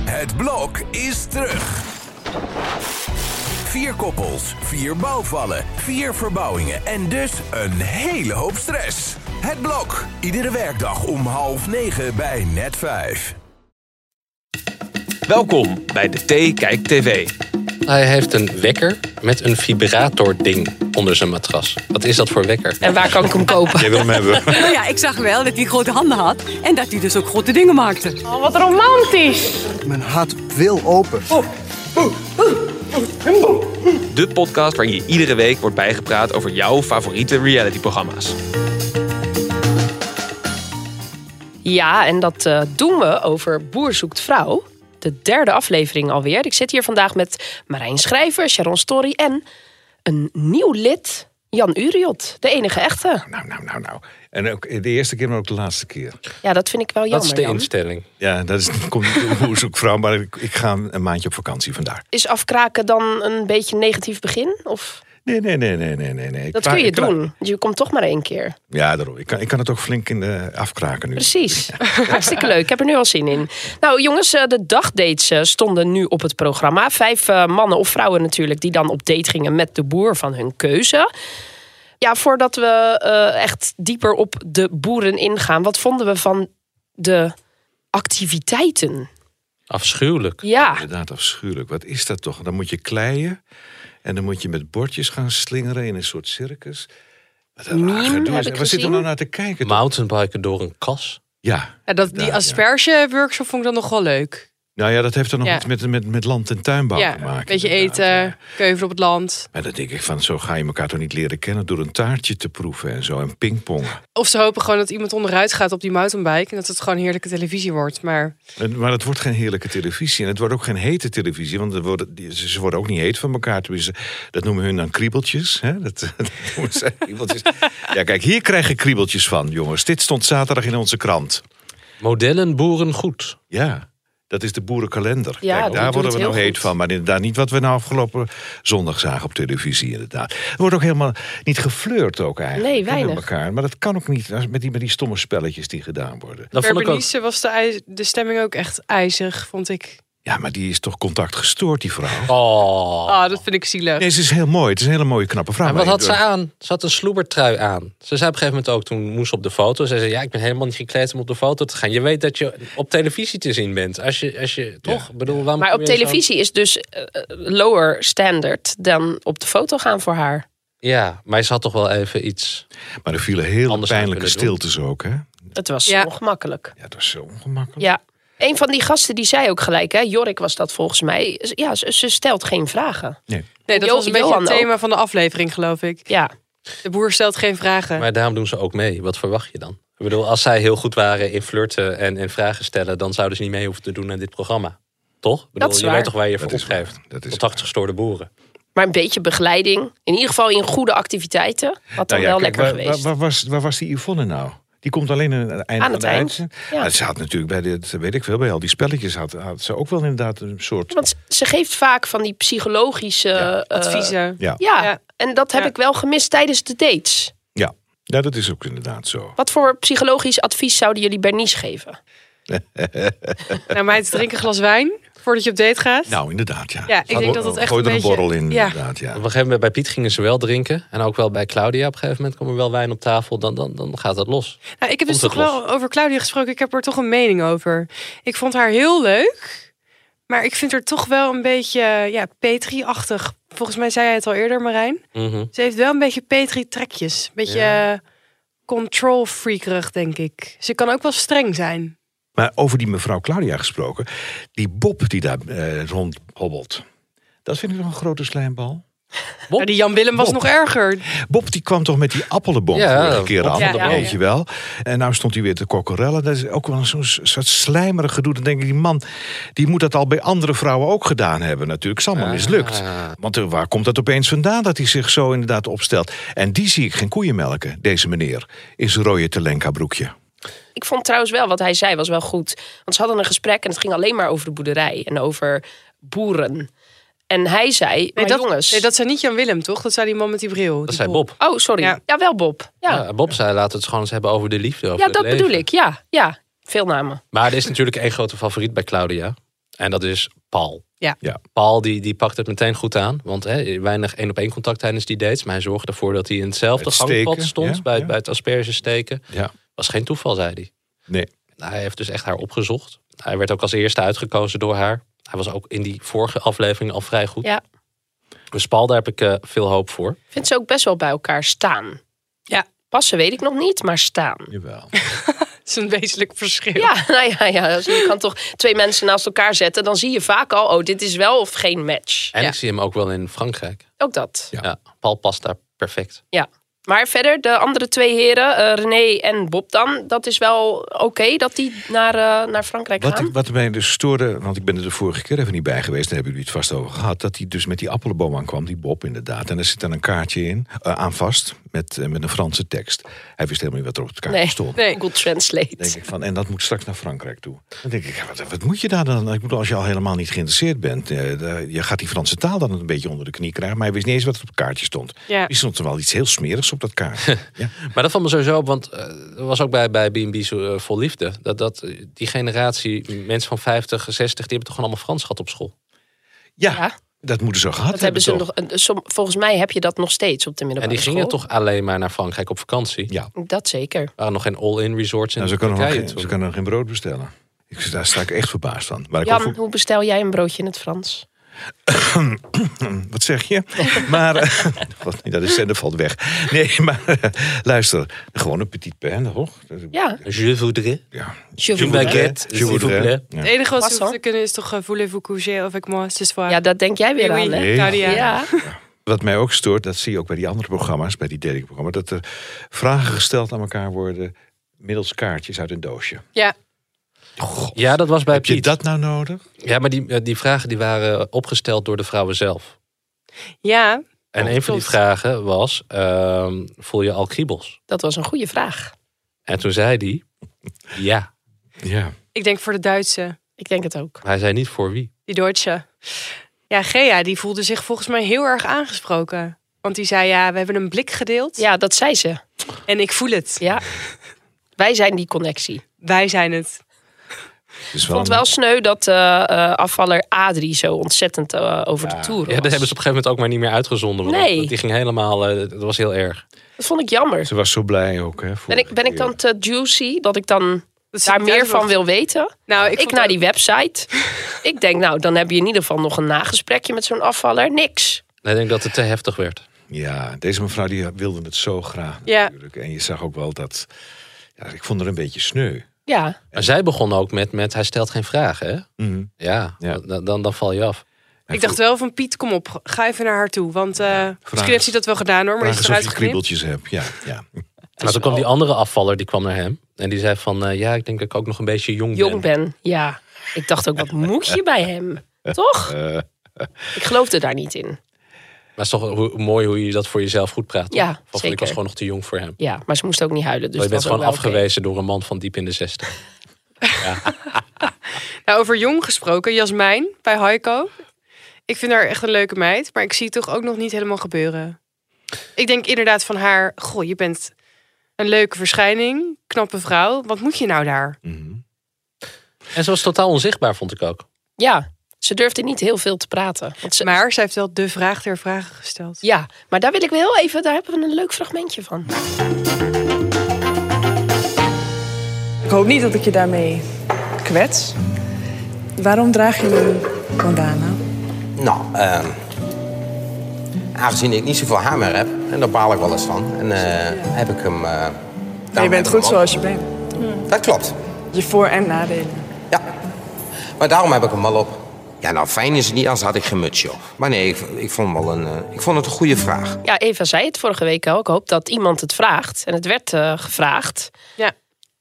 Het blok is terug. Vier koppels, vier bouwvallen, vier verbouwingen en dus een hele hoop stress. Het blok, iedere werkdag om half negen bij net vijf. Welkom bij de T Kijk TV. Hij heeft een wekker met een vibrator-ding onder zijn matras. Wat is dat voor wekker? En waar kan ik hem kopen? Jij wil hem hebben. Nou ja, ik zag wel dat hij grote handen had en dat hij dus ook grote dingen maakte. Oh, wat romantisch. Mijn hart wil open. De podcast waarin je iedere week wordt bijgepraat over jouw favoriete realityprogramma's. Ja, en dat eh, doen we over Boer zoekt vrouw. De derde aflevering alweer. Ik zit hier vandaag met Marijn Schrijver, Sharon Story en een nieuw lid, Jan Uriot. De enige echte. Nou, nou, nou, nou. En ook de eerste keer, maar ook de laatste keer. Ja, dat vind ik wel jammer. Dat is de Jan. instelling. Ja, dat is, komt door hoe zoek vrouw, maar ik, ik ga een maandje op vakantie vandaar. Is afkraken dan een beetje een negatief begin? Of Nee, nee, nee, nee, nee, nee. nee. Ik dat klaar- kun je ik klaar- doen. Want Je komt toch maar één keer. Ja, daarom. Ik kan, ik kan het ook flink in de afkraken nu. Precies. Hartstikke leuk. Ik heb er nu al zin in. Nou, jongens, eh, de dagdates eh, stonden nu op het programma. Vijf eh, mannen of vrouwen natuurlijk die dan op date gingen met de boer van hun keuze. Ja, voordat we eh, echt dieper op de boeren ingaan, wat vonden we van de activiteiten? Afschuwelijk. Ja, Inderdaad, afschuwelijk. Wat is dat toch? Dan moet je kleien en dan moet je met bordjes gaan slingeren in een soort circus. Wat een Meme raar gedoe heb is. En ik Waar zitten gezien. we nou naar te kijken? toch? Mountainbiken door een kas. Ja. Ja, dat, die Ja, ja. asperge-workshop vond ik dan nog wel leuk. Nou ja, dat heeft dan nog Ja. iets met, met, met land- en tuinbouw ja, te maken. een beetje inderdaad. eten, Ja. keuvel op het land. Maar dan denk ik van, zo ga je elkaar toch niet leren kennen door een taartje te proeven en zo en pingpongen. Of ze hopen gewoon dat iemand onderuit gaat op die mountainbike en dat het gewoon heerlijke televisie wordt. Maar En- Maar het wordt geen heerlijke televisie en het wordt ook geen hete televisie, want er worden, die- ze ze worden ook niet heet van elkaar. Tenminste, dat noemen hun dan kriebeltjes. Hè? Dat, dat noemen ze kriebeltjes. Ja, kijk, hier krijg je kriebeltjes van, jongens. Dit stond zaterdag in onze krant. Modellen boeren goed. Ja. Dat is de boerenkalender. Ja, Kijk, die daar doet worden we het nou heel heet goed. van. Maar inderdaad niet wat we nou afgelopen zondag zagen op televisie. Inderdaad. Er wordt ook helemaal niet geflirt ook eigenlijk. Nee, hè, met weinig. elkaar. Maar dat kan ook niet als- met die, met die stomme spelletjes die gedaan worden. Dat per vond ik ook. Bernice was de, ij- de stemming ook echt ijzig, vond ik. Ja, maar die is toch contact gestoord, die vrouw? Oh. Ah, dat vind ik zielig. Nee, ze is heel mooi. Het is een hele mooie, knappe vrouw. En wat Maar had ik- ze aan? Ze had een sloebertrui aan. Ze zei op een gegeven moment ook, toen moest ze op de foto. Ze zei, ja, ik ben helemaal niet gekleed om op de foto te gaan. Je weet dat je op televisie te zien bent. Als je, als je toch, Ik bedoel, waarom maar kom op je zo- televisie is dus eh, eh, lower standard dan op de foto gaan voor haar. Ja, maar ze had toch wel even iets. Maar er vielen heel Anders zou je pijnlijke kunnen doen. stiltes ook, hè? Ja, Het was Ja. ongemakkelijk. dat is zo ongemakkelijk. Ja. Een van die gasten die zei ook gelijk, hè, Jorik was dat volgens mij. Ja, ze, ze stelt geen vragen. Nee. Nee, dat Jo- was een beetje Johan het thema van de aflevering, geloof ik. Ja, De boer stelt geen vragen. Maar daarom doen ze ook mee. Wat verwacht je dan? Ik bedoel, als zij heel goed waren in flirten en, en vragen stellen, dan zouden ze niet mee hoeven te doen aan dit programma. Toch? Ik bedoel, is je waar. weet toch waar je voor Dat is opgeeft. waar. Dat is Contact gestoorde boeren. maar een beetje begeleiding. In ieder geval in goede activiteiten. Had dan Nou ja, wel kijk, lekker waar, geweest. Waar, waar was, waar was die Yvonne nou? Die komt alleen aan het einde Aan van het de eind, uitzending. ja. Maar Ze had natuurlijk bij dit, weet ik veel, bij al die spelletjes had, had ze ook wel inderdaad een soort. Want ze geeft vaak van die psychologische Ja, eh, Adviezen. Ja. Ja. ja. Ja. en dat heb Ja. ik wel gemist tijdens de dates. ja. dat is ook inderdaad zo. Wat voor psychologisch advies zouden jullie Bernice geven? Nou, meid, drink een glas wijn voordat je op date gaat. Nou, inderdaad, ja. Ja, ik denk dat dat echt Gooi er een een beetje- borrel in, Ja. inderdaad, ja. Op een gegeven moment bij Piet gingen ze wel drinken. En ook wel bij Claudia. Op een gegeven moment kwam er wel wijn op tafel. Dan, dan, dan gaat dat los. Nou, ik heb dus Komt toch het wel over Claudia gesproken. Ik heb er toch een mening over. Ik vond haar heel leuk. Maar ik vind haar toch wel een beetje ja, Petri-achtig. Volgens mij zei jij het al eerder, Marijn. Mhm. Ze heeft wel een beetje Petri-trekjes. Een beetje eh, control-freakerig, denk ik. Ze kan ook wel streng zijn. Maar over die mevrouw Claudia gesproken. Die Bob die daar eh, rondhobbelt. Dat vind ik nog een grote slijmbal. Nou, die Jan-Willem was Bob. nog erger. Bob die kwam toch met die appelenbom Ja, vorige keer Bob aan, van der weet Boom. je wel. En nou stond hij weer te kokorellen. Dat is ook wel zo'n s- soort slijmerig gedoe. Dan denk ik, die man die moet dat al bij andere vrouwen ook gedaan hebben natuurlijk. Is Ah. allemaal mislukt. Want eh, waar komt dat opeens vandaan dat hij zich zo inderdaad opstelt? En die zie ik geen koeien melken, deze meneer. In zijn rode Telenka broekje. Ik vond trouwens wel wat hij zei was wel goed. Want ze hadden een gesprek en het ging alleen maar over de boerderij en over boeren. En hij zei, maar dat, jongens... nee, dat zei niet Jan-Willem, toch? Dat zei die man met die bril. Dat die zei Bob. Oh, sorry. Ja, Ja. wel Bob. Ja, ja, Ja, Bob zei, laten we het gewoon eens hebben over de liefde. Over het dat leven. bedoel ik. Ja, ja, veel namen. Maar er is natuurlijk één grote favoriet bij Claudia. En dat is Paul. Ja. Ja. Paul die, die pakt het meteen goed aan. Want hè, weinig één op één contact tijdens die dates. Maar hij zorgde ervoor dat hij in hetzelfde Bij het gangpad steken, stond. ja, bij, ja. bij het asperge steken. Ja. Was geen toeval, zei hij. Nee. Hij heeft dus echt haar opgezocht. Hij werd ook als eerste uitgekozen door haar. Hij was ook in die vorige aflevering al vrij goed. Ja. Dus Paul, daar heb ik eh, veel hoop voor. Ik vind ze ook best wel bij elkaar staan. Ja. Passen weet ik nog niet, maar staan. Jawel. Dat is een wezenlijk verschil. Ja, nou ja, ja. Dus je kan toch twee mensen naast elkaar zetten. Dan zie je vaak al, oh, dit is wel of geen match. En Ja. ik zie hem ook wel in Frankrijk. Ook dat. Ja. Ja. Paul past daar perfect. Maar verder, de andere twee heren, eh, René en Bob dan. Dat is wel oké dat die naar, eh, naar Frankrijk Wat, gaan. ik- wat mij dus stoorde, want ik ben er de vorige keer even niet bij geweest, daar hebben jullie het vast over gehad, dat hij dus met die appelenboom aankwam, die Bob inderdaad. En er zit dan een kaartje in, eh, aan vast, met, eh, met een Franse tekst. Hij wist helemaal niet wat er op het kaartje Nee. stond. Nee. Google Translate. Denk ik van, en dat moet straks naar Frankrijk toe. Dan denk ik, ja, wat, wat moet je daar dan? Ik bedoel, als je al helemaal niet geïnteresseerd bent, eh, daar- je gaat die Franse taal dan een beetje onder de knie krijgen. Maar hij wist niet eens wat er op het kaartje stond. Ja. Er stond er wel iets heel smerigs op dat kaartje. ja. Maar dat valt me sowieso op, want eh, dat was ook bij, bij B&B zo, eh, vol liefde. Dat, dat eh, die generatie, mensen van 50, 60, die hebben toch gewoon allemaal Frans gehad op school. Ja, Ja. dat moeten ze gehad Dat hebben ze toch? nog, eh, som- volgens mij heb je dat nog steeds op de en middelbare die gingen school. toch alleen maar naar Frankrijk op vakantie. Ja. Dat zeker. Er waren nog geen all-in resorts in Nou, ze, kunnen nog Turkije geen, toen. ze kunnen nog geen brood bestellen. Ik, daar sta ik echt verbaasd van. Maar ik Jan, hoop ook- hoe bestel jij een broodje in het Frans? wat zeg je? Maar, eh, God, nee, dat is zender valt weg. Nee, maar eh, luister, gewoon een petit pain, toch? Ja. Je voudrais. ja. Je Een voudrais. baguette, Je s'il vous voudrais. plaît. Ja. Het enige wat Pas, ze hoor. hoeven te kunnen is toch eh, voulez-vous coucher of ik moi ce soir. Ja, dat denk jij weer Oui, aan, oui, hè? Nee. Claudia. Ja. Wat mij ook stoort, dat zie je ook bij die andere programma's, bij die datingprogramma's, dat er vragen gesteld aan elkaar worden middels kaartjes uit een doosje. Ja. Ja, dat was bij Heb je Piet. dat nou nodig? Ja, maar die, eh, die vragen die waren opgesteld door de vrouwen zelf. Ja. En Oh, een van die klopt. vragen was, ehm, voel je al kriebels? Dat was een goede vraag. En toen zei hij, ja. Ja. Ik denk voor de Duitse. Ik denk het ook. Maar hij zei niet voor wie. Die Duitse. Ja, Gea, die voelde zich volgens mij heel erg aangesproken. Want die zei, ja, we hebben een blik gedeeld. Ja, dat zei ze. En ik voel het. Ja. Wij zijn die connectie. Wij zijn het. Dus Ik vond het wel sneu dat eh, eh, afvaller Adrie zo ontzettend eh, over de toer was. Ja, dat hebben ze op een gegeven moment ook maar niet meer uitgezonden. want Nee. dat- Die ging helemaal, eh, dat was heel erg. Dat vond ik jammer. Ze was zo blij ook. Hè, Ben ik, ben ik dan te juicy dat ik dan Dat ze daar het meer juist van nog- wil weten? Nou, ik, Ik vond naar ook- die website. ik denk, nou, dan heb je in ieder geval nog een nagesprekje met zo'n afvaller. Niks. Ik denk dat het te heftig werd. Ja, deze mevrouw die wilde het zo graag Ja. natuurlijk. En je zag ook wel dat... Ja, ik vond er een beetje sneu. Ja, Maar zij begon ook met, met hij stelt geen vragen, hè? Ja, Mhm. Ja. Dan, dan, dan val je af. Hij ik dacht wel van Piet, kom op, ga even naar haar toe. Want eh, misschien heeft hij dat wel gedaan hoor, maar Vraag is eens het of eruit je geknipt. kriebeltjes hebt. Ja, ja. Maar toen kwam die andere afvaller, die kwam naar hem. En die zei van, eh, ja, ik denk dat ik ook nog een beetje jong, jong ben. Ja. Ik dacht ook, wat moet je bij hem? Toch? Ik geloofde daar niet in. Maar het is toch hoe- mooi hoe je dat voor jezelf goed praat. Ja, toch? Van, zeker. Ik was gewoon nog te jong voor hem. Ja, maar ze moest ook niet huilen. Dus Oh, je dat bent was ook gewoon wel oké. afgewezen door een man van diep in de zestig. Nou, over jong gesproken, Jasmijn bij Heiko. Ik vind haar echt een leuke meid, maar ik zie het toch ook nog niet helemaal gebeuren. Ik denk inderdaad van haar, goh, je bent een leuke verschijning, knappe vrouw. Wat moet je nou daar? Mhm. En ze was totaal onzichtbaar, vond ik ook. Ja, ze durfde niet heel veel te praten. Want ze, Maar zij heeft wel de vraag der vragen gesteld. Ja, maar daar wil ik wel heel even, daar hebben we een leuk fragmentje van. Ik hoop niet dat ik je daarmee kwets. Waarom draag je een bandana? Nou, ehm, aangezien ik niet zoveel hamer heb, en daar baal ik wel eens van, en, eh, heb ik hem. eh, je daarom heb bent ik goed hem zoals je bent. op. Dat klopt, Je voor- en nadelen. ja. Maar daarom heb ik hem al op. Ja, nou, fijn is het niet, anders had ik geen muts, joh. Maar nee, ik, ik, vond, hem wel een, eh, ik vond het een goede vraag. Ja, Eva zei het vorige week al. Ik hoop dat iemand het vraagt. En het werd eh, gevraagd. Ja.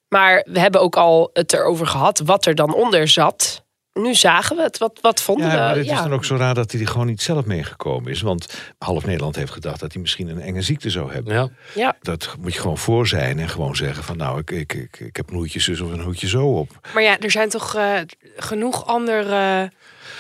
Maar we hebben ook al het erover gehad wat er dan onder zat. Nu zagen we het. Wat, wat vonden Ja, maar we? het is dan ook zo raar dat hij er gewoon niet zelf meegekomen is. Want half Nederland heeft gedacht dat hij misschien een enge ziekte zou hebben. Ja. ja. Dat moet je gewoon voor zijn en gewoon zeggen van... nou, ik, ik, ik, ik heb een hoedje zus of een hoedje zo op. Maar ja, er zijn toch eh, genoeg andere,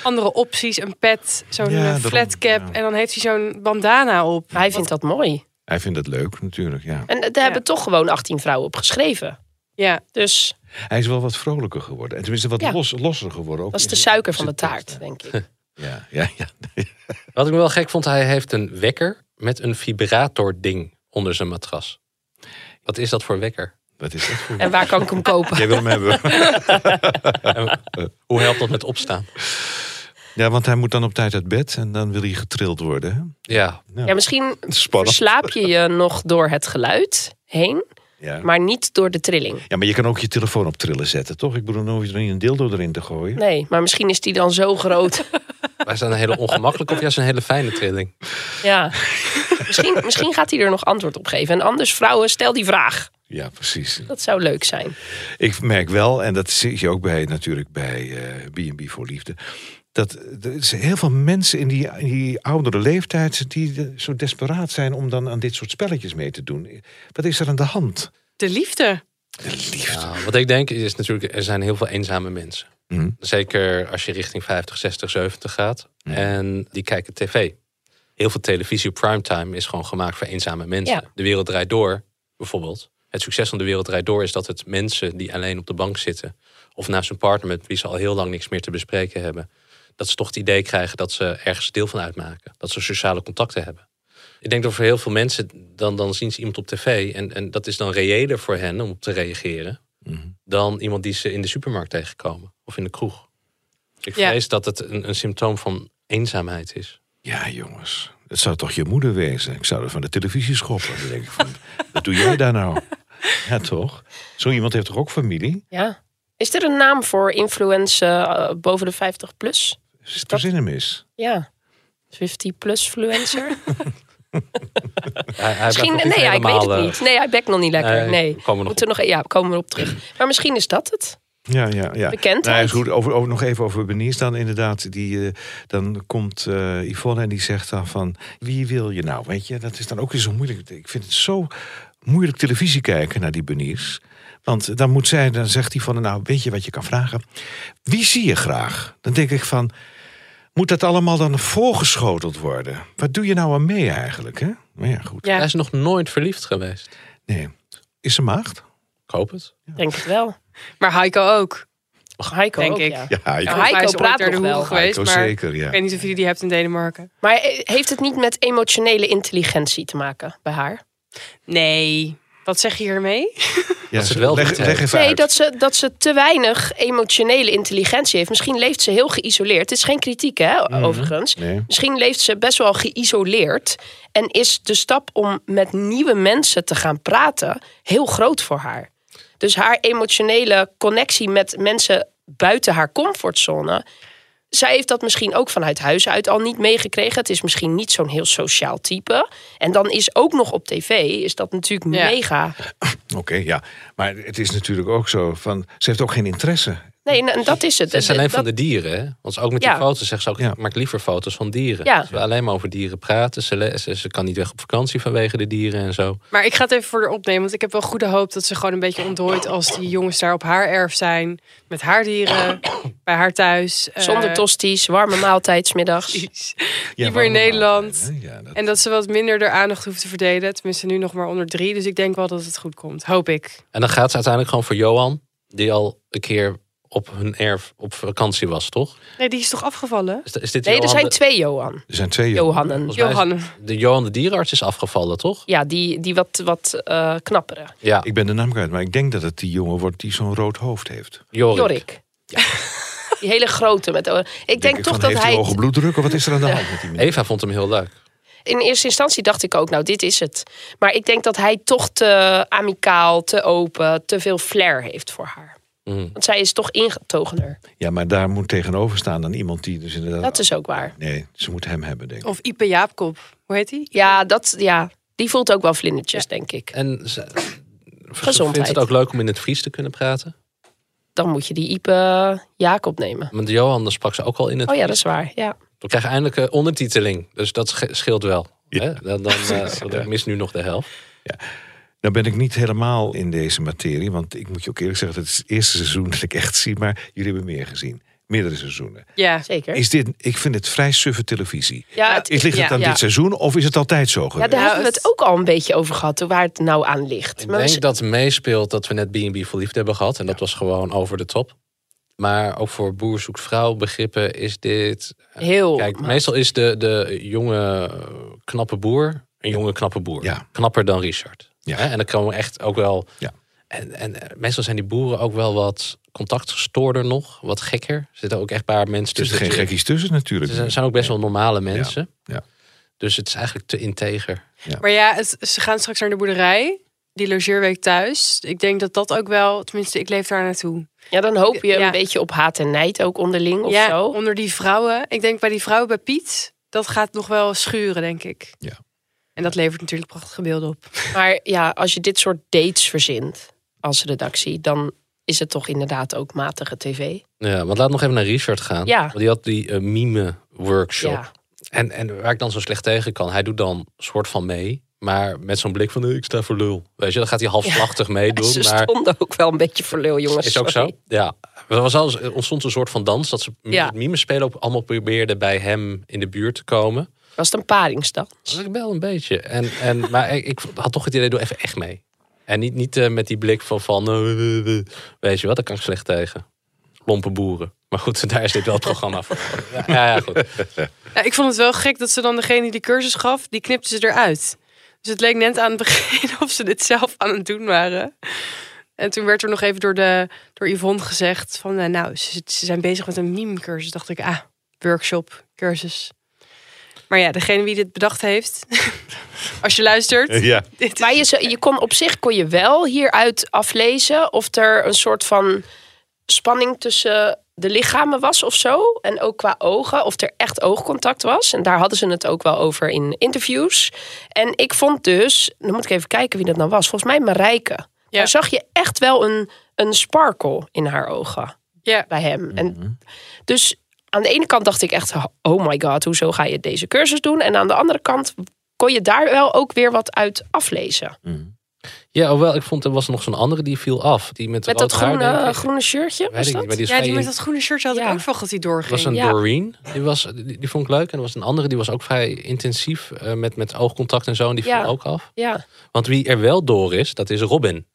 andere opties. Een pet, zo'n Ja, eh, daarom, flatcap. ja. En dan heeft hij zo'n bandana op. Maar hij vindt dat mooi. eh, Hij vindt dat leuk natuurlijk, ja. En daar hebben toch gewoon 18 vrouwen op geschreven. Ja, Dus Hij is wel wat vrolijker geworden. En tenminste wat Ja. los, losser geworden. Ook Dat is in de zijn- suiker van de zijn taart, teksten. denk ik. Ja, ja, ja. Wat ik me wel gek vond, hij heeft een wekker met een vibrator-ding onder zijn matras. Wat is dat voor wekker? Wat is dat voor En waar kan ik hem kopen? Jij wil hem hebben. Hoe helpt dat met opstaan? Ja, want hij moet dan op tijd uit bed en dan wil hij getrild worden. Hè? Ja, Ja, misschien Spannend. slaap je je nog door het geluid heen, Ja. maar niet door de trilling. ja, maar je kan ook je telefoon op trillen zetten, toch? Ik bedoel, dan hoef je er niet een dildo erin te gooien. Nee, maar misschien is die dan zo groot. maar is dat een hele ongemakkelijke of juist een hele fijne trilling? Ja. misschien, misschien gaat hij er nog antwoord op geven. En anders, vrouwen, stel die vraag. Ja, precies. Dat zou leuk zijn. Ik merk wel, en dat zie je ook bij, natuurlijk bij eh, B&B voor Liefde... dat eh, er zijn heel veel mensen in die, in die oudere leeftijd... die eh, zo desperaat zijn om dan aan dit soort spelletjes mee te doen. Wat is er aan de hand? De liefde. Ja, wat ik denk is natuurlijk, er zijn heel veel eenzame mensen. Mhm. Zeker als je richting 50, 60, 70 gaat. En die kijken tv. Heel veel televisie op primetime is gewoon gemaakt voor eenzame mensen. Ja. De Wereld Draait Door, bijvoorbeeld. Het succes van De Wereld Draait Door is dat het mensen die alleen op de bank zitten... of naast hun partner met wie ze al heel lang niks meer te bespreken hebben... dat ze toch het idee krijgen dat ze ergens deel van uitmaken. Dat ze sociale contacten hebben. Ik denk dat voor heel veel mensen, dan, dan zien ze iemand op tv... En, en dat is dan reëler voor hen om op te reageren dan iemand die ze in de supermarkt tegenkomen of in de kroeg. Ik Ja. vrees dat het een, een symptoom van eenzaamheid is. Ja, jongens. Het zou toch je moeder wezen? Ik zou er van de televisie schoppen. Dan denk ik van, wat doe jij daar nou? Ja, toch? Zo iemand heeft toch ook familie? Ja. Is er een naam voor influence eh, boven de 50 plus? Zit er zin in mis? Ja. 50 plus fluencer? Hij, hij Misschien, blijft nog nee, ja, ik weet helemaal, het eh, niet. Nee, hij bekt nog niet lekker. nee, Nee. we komen nog Moeten we nog, ja, komen we op terug. Maar misschien is dat het. Ja, ja, ja. Bekendheid. Nou, is goed. Over, over, nog even over Beniers dan inderdaad. Die, eh, dan komt eh, Yvonne en die zegt dan van... Wie wil je nou? Weet je, dat is dan ook weer zo moeilijk. Ik vind het zo moeilijk televisie kijken naar die Beniers. Want dan moet zij, dan zegt Yvonne... Nou, weet je wat je kan vragen? Wie zie je graag? Dan denk ik van... Moet dat allemaal dan voorgeschoteld worden? Wat doe je nou aan mee eigenlijk, hè? Maar ja, goed. Ja. Hij is nog nooit verliefd geweest. Nee. Is ze maagd? Ik hoop het. Denk het wel. Maar Heiko ook. Heiko Denk ook, ik. ja. Ja, ik Ja, Volgens mij Heiko is ooit praat naar de nog wel. hoeren geweest, Heiko maar zeker, ja. ik weet niet of jullie die hebt in Denemarken. Maar eh, heeft het niet met emotionele intelligentie te maken bij haar? Nee. Wat zeg je hiermee? ja, ze het wel leg, goed leg heeft. even Nee, uit. dat ze, dat ze te weinig emotionele intelligentie heeft. Misschien leeft ze heel geïsoleerd. Het is geen kritiek, hè, overigens. Nee. Misschien leeft ze best wel geïsoleerd. En is de stap om met nieuwe mensen te gaan praten heel groot voor haar. Dus haar emotionele connectie met mensen buiten haar comfortzone. Zij heeft dat misschien ook vanuit huis uit al niet meegekregen. Het is misschien niet zo'n heel sociaal type. En dan is ook nog op tv, is dat natuurlijk Ja. mega. Oké, ja. Maar het is natuurlijk ook zo van... Ze heeft ook geen interesse. Nee, nou, dat is het. Het zijn alleen Dat- van de dieren. Hè? Want ook met Ja. die foto's zegt ze ook, Ja. ik maak liever foto's van dieren. Ja. Als we alleen maar over dieren praten. Ze, le- ze, ze kan niet weg op vakantie vanwege de dieren en zo. Maar ik ga het even voor haar opnemen, want ik heb wel goede hoop dat ze gewoon een beetje ontdooit als die jongens daar op haar erf zijn. Met haar dieren, bij haar thuis. eh, Zonder tosti's, warme maaltijd 's middags. precies. Ja, Niet meer in waarom Nederland. nou? Ja, dat- En dat ze wat minder de aandacht hoeft te verdelen. Tenminste, nu nog maar onder drie. Dus ik denk wel dat het goed komt. Hoop ik. En dan gaat ze uiteindelijk gewoon voor Johan. Die al een keer op hun erf op vakantie was, toch? Nee, die is toch afgevallen? Is, is dit Nee, er Johan zijn de- twee Johan. Er zijn twee Johannen. Volgens mij is- Johan. De Johan de dierenarts is afgevallen, toch? Ja, die, die wat, wat eh knappere. Ja, Ik ben de naam kwijt, maar ik denk dat het die jongen wordt die zo'n rood hoofd heeft. Jorik. Jorik. Die hele grote. Met, ogen. ik denk, ik toch van, dat heeft hij... Heeft hoge bloeddruk of wat is er aan de hand met die meneer? Eva vond hem heel leuk. In eerste instantie dacht ik ook, nou, dit is het. Maar ik denk dat hij toch te amicaal, te open, te veel flair heeft voor haar. Want zij is toch ingetogener. Ja, maar daar moet tegenover staan dan iemand die dus inderdaad... Dat is ook waar. Nee, ze moet hem hebben, denk ik. Of Ipe Jaapkop. Hoe heet die? Ja, dat, ja die voelt ook wel vlindertjes, denk ik. En ze, ze Gezondheid. vindt het ook leuk om in het Fries te kunnen praten. Dan moet je die Ipe eh, Jacob nemen. Met Johan dan sprak ze ook al in het Oh ja, dat is waar. Ja. We krijgen eindelijk eh, ondertiteling. Dus dat sche- scheelt wel. Hè? Dan, dan, eh, want ik mis nu nog de helft. Nou ben ik niet helemaal in deze materie, want ik moet je ook eerlijk zeggen... dat is het eerste seizoen dat ik echt zie, maar jullie hebben meer gezien. meerdere seizoenen. Ja. Zeker. Is dit, ik vind het vrij suffe televisie. ja, het, Is, ligt het Ja. aan Ja. dit seizoen of is het altijd zo ja, geweest? daar hebben we het- het ook al een beetje over gehad, hoe- waar het nou aan ligt. Ik Maar denk misschien- dat meespeelt dat we net B&B voor liefde hebben gehad. En dat was gewoon over de top. Maar ook voor boer zoekt vrouw begrippen is dit... heel. Kijk, Oh, maar- meestal is de, de jonge eh, knappe boer een jonge knappe boer. Ja. Knapper dan Richard. Ja. Hè? En dan komen we echt ook wel... Ja. En, en eh, meestal zijn die boeren ook wel wat contactgestoorder nog. Wat gekker. Er zitten ook echt een paar mensen Er tussen. zitten geen natuurlijk. gekkies tussen natuurlijk. Ze zijn- zijn ook best wel normale mensen. Ja. Dus het is eigenlijk te integer. Maar ja, het- ze gaan straks naar de boerderij. Die logeerweek thuis. Ik denk dat dat ook wel... Tenminste, ik leef daar naartoe. ja, dan hoop je Ja. een beetje op haat en nijd ook onderling of ja, zo. onder die vrouwen. Ik denk bij die vrouwen bij Piet... Dat gaat nog wel schuren, denk ik. Ja. En dat levert natuurlijk prachtige beelden op. Maar ja, als je dit soort dates verzint als redactie, dan is het toch inderdaad ook matige tv. Nou Ja, want laat nog even naar Richard gaan. Ja. Want die had die eh, mime-workshop. Ja. En, en waar ik dan zo slecht tegen kan, hij doet dan soort van mee. Maar met zo'n blik van, eh, ik sta voor lul. Weet je, dan gaat hij halfslachtig meedoen. Ze Maar stonden ook wel een beetje voor lul, jongens. is ook zo. sorry. Ja. Er was al, er ontstond een soort van dans dat ze Ja. het mime spelen ook allemaal probeerden bij hem in de buurt te komen. Was het een paringsdag? Dat is wel een beetje. En, en, maar ik, ik had toch het idee, doe even echt mee. En niet, niet eh, met die blik van, van eh, eh, eh, weet je wat, daar kan ik slecht tegen. Lompe boeren. Maar goed, daar is dit wel het programma voor. Ja, ja, ja, goed. Ja, ik vond het wel gek dat ze dan degene die de cursus gaf, die knipte ze eruit. Dus het leek net aan het begin of ze dit zelf aan het doen waren. En toen werd er nog even door, de, door Yvonne gezegd van, eh, nou, ze, ze zijn bezig met een meme-cursus. Dacht ik, ah, workshop, cursus. Maar ja, degene wie dit bedacht heeft, als je luistert. Eh, Ja. dit is- Maar je, zou- je kon op zich kon je wel hieruit aflezen of er een soort van spanning tussen de lichamen was of zo. En ook qua ogen, of er echt oogcontact was. En daar hadden ze het ook wel over in interviews. En ik vond dus, dan moet ik even kijken wie dat nou was. Volgens mij Marijke. Ja. Daar zag je echt wel een, een sparkle in haar ogen Ja. bij hem. En dus aan de ene kant dacht ik echt, oh my god, hoezo ga je deze cursus doen? En aan de andere kant kon je daar wel ook weer wat uit aflezen. Ja, hoewel, ik vond er was nog zo'n andere die viel af. Die met, Met rood dat haar, groene, eh, denk ik. groene shirtje, Weet was ik niet, dat? maar die is ja, die vrij- met dat groene shirtje had Ja. ik ook van dat die Er doorging. was een Ja. Doreen, die, was, die, die vond ik leuk. En er was een andere, die was ook vrij intensief eh, met, met oogcontact en zo. En die viel Ja. ook af. Ja, Want wie er wel door is, dat is Robin,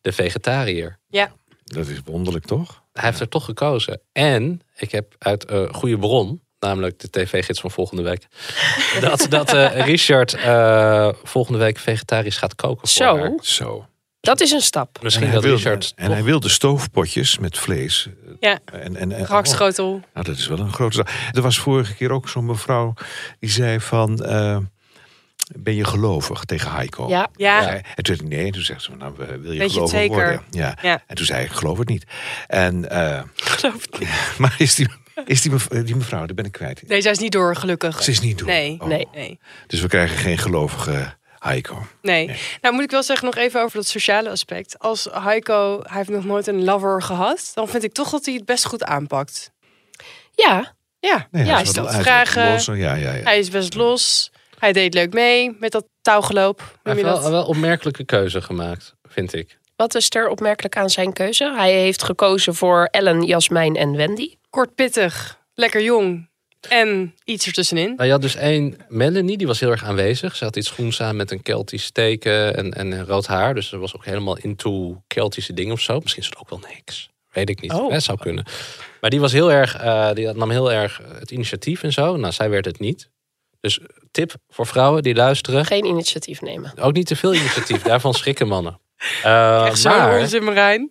de vegetariër. Ja, Dat is wonderlijk toch? Hij heeft er toch gekozen. En ik heb uit eh goede bron, namelijk de tv-gids van volgende week, dat, dat eh, Richard eh, volgende week vegetarisch gaat koken. Voor haar. zo. Zo. Dat is een stap. Misschien en hij dat wilde, Richard. en hij wilde stoofpotjes met vlees. ja. En, en, en, gehakschotel. Nou, dat is wel een grote zaak. Er was vorige keer ook zo'n mevrouw die zei van... eh, ben je gelovig tegen Oh. Heiko? Ja, Ja. Zei- En toen zei hij nee. En toen zegt ze, nou, wil je het gelovig zeker? worden? Ja. Ja. En toen zei ik, geloof het niet. En, geloof het niet. Maar is die, is die, mevrouw, die mevrouw, daar ben ik kwijt. Nee, zij is niet door, gelukkig. Ze is niet door. Nee, Oh. nee. nee. Dus we krijgen geen gelovige Heiko. Nee. Nou moet ik wel zeggen nog even over dat sociale aspect. Als Heiko, hij heeft nog nooit een lover gehad, dan vind ik toch dat hij het best goed aanpakt. ja. Ja, Nee, ja hij is stelt wel- hij is wel vragen, los. Ja, ja, ja. hij is best los, hij deed leuk mee met dat touwgeloop. Hij Noem je heeft wel, dat? wel opmerkelijke keuze gemaakt, vind ik. Wat is er opmerkelijk aan zijn keuze? Hij heeft gekozen voor Ellen, Jasmijn en Wendy. Kort pittig, lekker jong en iets ertussenin. Nou, je had dus één Melanie, die was heel erg aanwezig. Ze had iets groens aan met een Keltisch teken en, en rood haar. Dus ze was ook helemaal into Keltische dingen of zo. Misschien is het ook wel niks. Weet ik Oh. niet. Dat zou kunnen. Maar die was heel erg, eh, die nam heel erg het initiatief en zo. Nou, zij werd het niet. Dus tip voor vrouwen die luisteren. Geen initiatief nemen. Ook niet te veel initiatief. Daarvan schrikken mannen. Eh, Echt zo'n maar- onzin Marijn.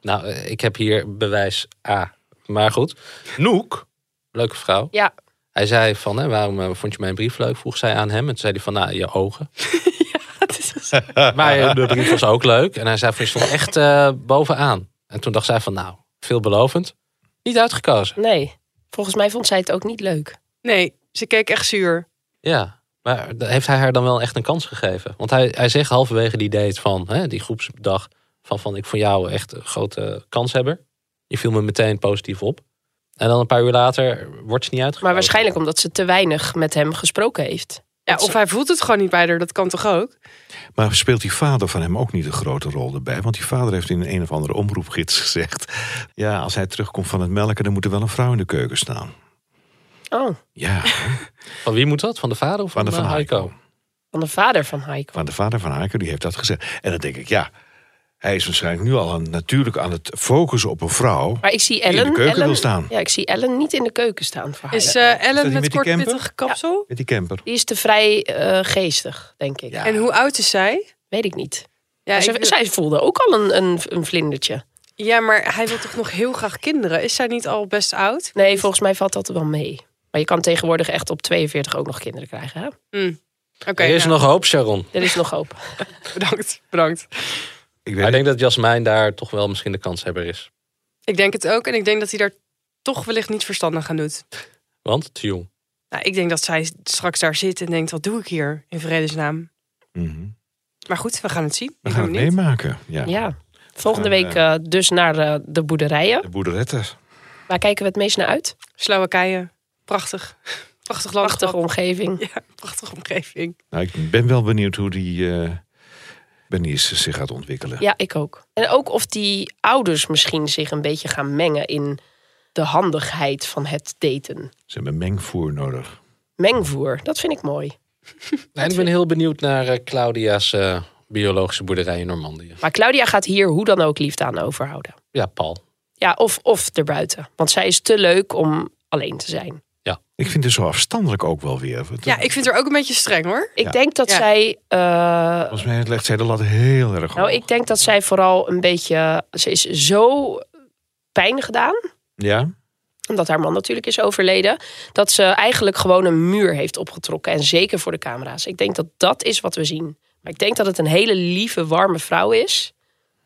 nou, eh, ik heb hier bewijs A. Maar goed. Noek, leuke vrouw. Ja, Hij zei van, hè, waarom eh, vond je mijn brief leuk? Vroeg zij aan hem. En toen zei hij van, nou, je ogen. maar eh, de brief was ook leuk. En hij zei van, je stond echt eh, bovenaan. En toen dacht zij van, nou, veelbelovend. Niet uitgekozen. nee. Volgens mij vond zij het ook niet leuk. Nee, ze keek echt zuur. Ja. Maar da- heeft hij haar dan wel echt een kans gegeven? Want hij, hij zegt halverwege die date van, hè, die groepsdag... Van, van, ik vond jou echt een grote kanshebber. Je viel me meteen positief op. En dan een paar uur later wordt ze niet uitgekozen. Maar waarschijnlijk omdat ze te weinig met hem gesproken heeft. Ja, of hij voelt het gewoon niet bij haar, dat kan toch ook? Maar speelt die vader van hem ook niet een grote rol erbij? Want die vader heeft in een of andere omroepgids gezegd... ja, als hij terugkomt van het melken, dan moet er wel een vrouw in de keuken staan. Oh, Ja, Van wie moet dat? Van de vader of Van van, de eh, Van Heiko. Heiko? van de vader van Heiko. van de vader van Haken, die heeft dat gezegd. En dan denk ik, ja, hij is waarschijnlijk nu al aan- natuurlijk aan het focussen op een vrouw... Maar ik zie in de Ellen... keuken Ellen- wil staan. Ja, ik zie Ellen niet in de keuken staan voor haar. Is eh, die Ellen met met die kort camper? pittig kapsel? met die camper. Die is te vrij eh, geestig, denk ik. Ja. En hoe oud is zij? Weet ik niet. Ja, Zij- ik wil- Zij voelde ook al een, een, een vlindertje. ja, maar hij wil toch nog heel graag kinderen? Is zij niet al best oud? Nee, volgens mij valt dat wel mee. Maar je kan tegenwoordig echt op 42 ook nog kinderen krijgen. Hè? Oké, er is nou, nog hoop, Sharon. Er is nog hoop. bedankt, bedankt. Ik Maar ik weet niet, denk dat Jasmijn daar toch wel misschien de kanshebber is. Ik denk het ook en ik denk dat hij daar toch wellicht niet verstandig aan doet. Want te jong. Nou, ik denk dat zij straks daar zit en denkt, wat doe ik hier in vredesnaam? mhm. Maar goed, we gaan het zien. we ik gaan ben het benieuwd. meemaken. Ja. Ja. Volgende Gaan, week eh, dus naar eh, de boerderijen. De boerderetten. Waar kijken we het meest naar uit? Slowakije, prachtig. Prachtig land. Prachtige omgeving. Ja, prachtige omgeving. Nou, ik ben wel benieuwd hoe die eh Bernice zich gaat ontwikkelen. Ja, ik ook. En ook of die ouders misschien zich een beetje gaan mengen in de handigheid van het daten. Ze hebben mengvoer nodig. Mengvoer, dat vind ik mooi. En ik ben heel benieuwd naar eh, Claudia's eh, biologische boerderij in Normandië. Maar Claudia gaat hier hoe dan ook liefde aan overhouden. Ja, Paul. Ja, of, of erbuiten. Want zij is te leuk om alleen te zijn. Ik vind het zo afstandelijk ook wel weer. Want, eh, Ja, ik vind haar ook een beetje streng hoor. Ik Ja. denk dat Ja. zij. eh, Volgens mij legt zij de lat heel erg nou, hoog. ik denk dat zij vooral een beetje. Ze is zo pijn gedaan. Ja? Omdat haar man natuurlijk is overleden. Dat ze eigenlijk gewoon een muur heeft opgetrokken. En zeker voor de camera's. Ik denk dat dat is wat we zien. Maar ik denk dat het een hele lieve, warme vrouw is.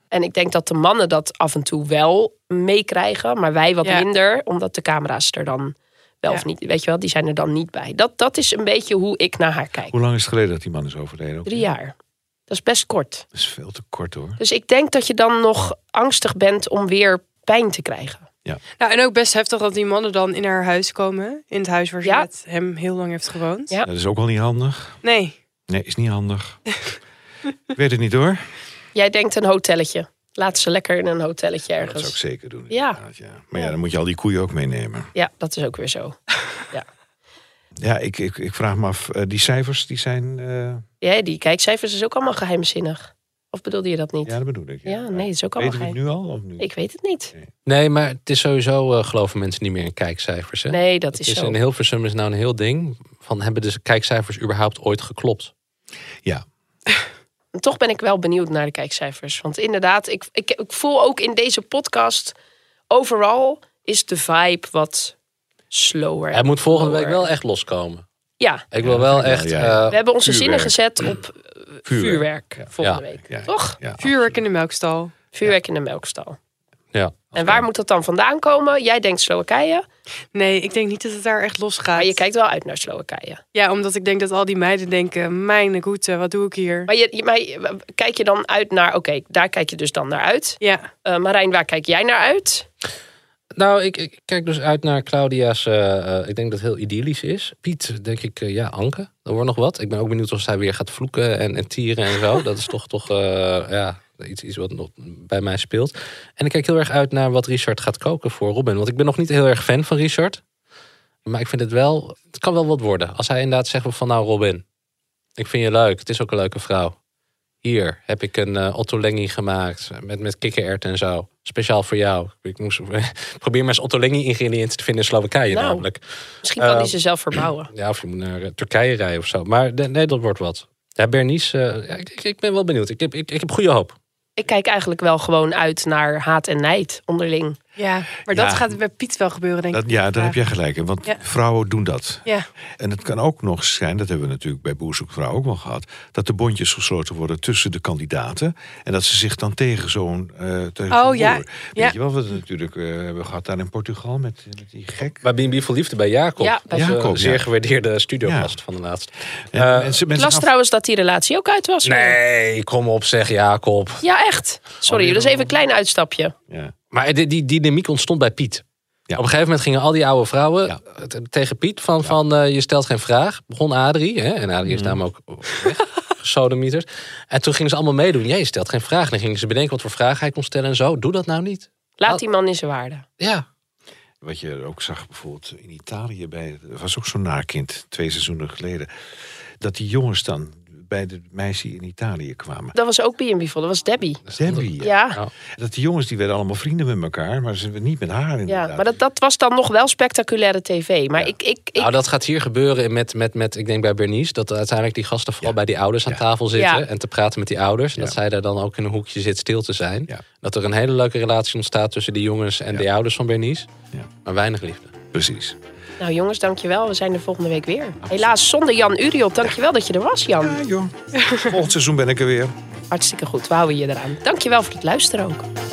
En ik denk dat de mannen dat af en toe wel meekrijgen. Maar wij wat Ja. minder. Omdat de camera's er dan wel Ja. of niet. Weet je wel, die zijn er dan niet bij. Dat, dat is een beetje hoe ik naar haar kijk. Hoe lang is het geleden dat die man is overleden? Ook? Drie jaar. Dat is best kort. Dat is veel te kort hoor. Dus ik denk dat je dan nog angstig bent om weer pijn te krijgen. Nou, en ook best heftig dat die mannen dan in haar huis komen. In het huis waar ze Ja. met hem heel lang heeft gewoond. Ja. Dat is ook wel niet handig. Nee, Nee, is niet handig. ik weet het niet hoor. Jij denkt een hotelletje. Laat ze lekker in een hotelletje Dat zou ik ergens. zeker doen. Ja. inderdaad, ja. Maar ja, dan moet je al die koeien ook meenemen. Ja, dat is ook weer zo. Ja, ik, ik, ik vraag me af. eh, die cijfers die zijn... eh, Ja, die kijkcijfers is ook allemaal geheimzinnig. Of bedoelde je dat niet? ja, Ja, dat bedoel ik. nee, het is ook allemaal Weten we het geheim. nu al? Of nu? Ik weet het niet. Nee, maar het is sowieso, eh, geloven mensen niet meer in kijkcijfers. Hè? Nee, dat is is zo. in Hilversum is nou een heel ding. Van hebben de kijkcijfers überhaupt ooit geklopt? Ja. En toch ben ik wel benieuwd naar de kijkcijfers. Want inderdaad, ik, ik, ik voel ook in deze podcast... overal is de vibe wat slower. Hij moet volgende week Lower. wel echt loskomen. Ja, Ik wil wel ja, echt. eh, ja, Ja, ja. we hebben onze zinnen Vuurwerk. gezet op eh, vuurwerk, volgende Ja, week. ja, ja. Toch? Ja, vuurwerk in de melkstal. Vuurwerk in de melkstal. ja. En waar moet dat dan vandaan komen? Jij denkt Slowakije, Nee, ik denk niet dat het daar echt los gaat. maar je kijkt wel uit naar Slowakije. Ja, omdat ik denk dat al die meiden denken, mijn goede, wat doe ik hier? Maar, je, je- maar je- kijk je dan uit naar, oké, daar kijk je dus dan naar uit. Ja, Eh, Marijn, waar kijk jij naar uit? Nou, ik, ik kijk dus uit naar Claudia's. eh, eh, ik denk dat het heel idyllisch is. Piet, denk ik, eh, ja, Anke. Er wordt nog wat. Ik ben ook benieuwd of zij weer gaat vloeken en, en tieren en zo. Dat is toch, toch eh, ja, iets, iets wat nog bij mij speelt. En ik kijk heel erg uit naar wat Richard gaat koken voor Robin. Want ik ben nog niet heel erg fan van Richard. Maar ik vind het wel, het kan wel wat worden. Als hij inderdaad zegt van nou Robin, ik vind je leuk. Het is ook een leuke vrouw. Hier heb ik een eh, Otto Lengi gemaakt met, met kikkererwt en zo. Speciaal voor jou. Ik moest, probeer maar eens Otto Lengi ingrediënten te vinden in Slowakije Nou. namelijk. Misschien kan Eh, die ze zelf verbouwen. Ja, of je moet naar eh, Turkije rijden of zo. Maar de- nee, dat wordt wat. Ja, Bernice, eh, ja, ik, ik- ik ben wel benieuwd. Ik heb, ik, ik heb goede hoop. Ik kijk eigenlijk wel gewoon uit naar haat en nijd onderling. ja. Ja. maar dat gaat bij Piet wel gebeuren, denk Dat, ik. ja, daar heb jij gelijk in. Want Ja. vrouwen doen dat. Ja, En het kan ook nog zijn, dat hebben we natuurlijk bij Boerzoekvrouw ook wel gehad, dat de bondjes gesloten worden tussen de kandidaten. En dat ze zich dan tegen zo'n. eh, tegen Oh, zo'n ja. boer- Weet Ja. je wel, wat we natuurlijk eh, hebben gehad daar in Portugal met, met die gek. Bij B&B voor Liefde, bij Jacob. Ja, bij Onze Jacob, ja. zeer gewaardeerde studiogast van de laatste. En Eh, mensen, Ik mensen las gaan- trouwens dat die relatie ook uit was. nee, kom op zeg Jacob. Ja, echt. Sorry, dat is even een klein uitstapje. Ja. Maar die, die dynamiek ontstond bij Piet. Op een gegeven moment gingen al die oude vrouwen eh, t- tegen Piet van, van eh, je stelt geen vraag. Begon Adrie, hè? en Adrie is namelijk ook weg, gesodemieterd. En toen gingen ze allemaal meedoen. Ja, je stelt geen vraag. En dan gingen ze bedenken wat voor vragen hij kon stellen en zo. Doe dat nou niet. Laat die man in zijn waarde. Ja. Wat je ook zag bijvoorbeeld in Italië bij, er was ook zo'n naarkind twee seizoenen geleden, dat die jongens dan bij de meisje in Italië kwamen. Dat was ook B&B vol. Dat was Debbie. Debbie, Ja, ja. Nou, dat die jongens die werden allemaal vrienden met elkaar, maar ze niet met haar inderdaad. maar dat, dat was dan nog wel spectaculaire tv. Maar ik, ik, ik, nou, dat gaat hier gebeuren met, met, met, ik denk bij Bernice, dat uiteindelijk die gasten vooral bij die ouders aan tafel zitten Ja. en te praten met die ouders. En dat Ja. zij daar dan ook in een hoekje zit stil te zijn. Ja. Dat er een hele leuke relatie ontstaat tussen die jongens en de ouders van Bernice. Ja. Maar weinig liefde. Precies. Nou jongens, dankjewel. We zijn er volgende week weer. Helaas zonder Jan Uriot. Dankjewel dat je er was, Jan. Ja joh, volgend seizoen ben ik er weer. Hartstikke goed. We houden je eraan. Dankjewel voor het luisteren ook.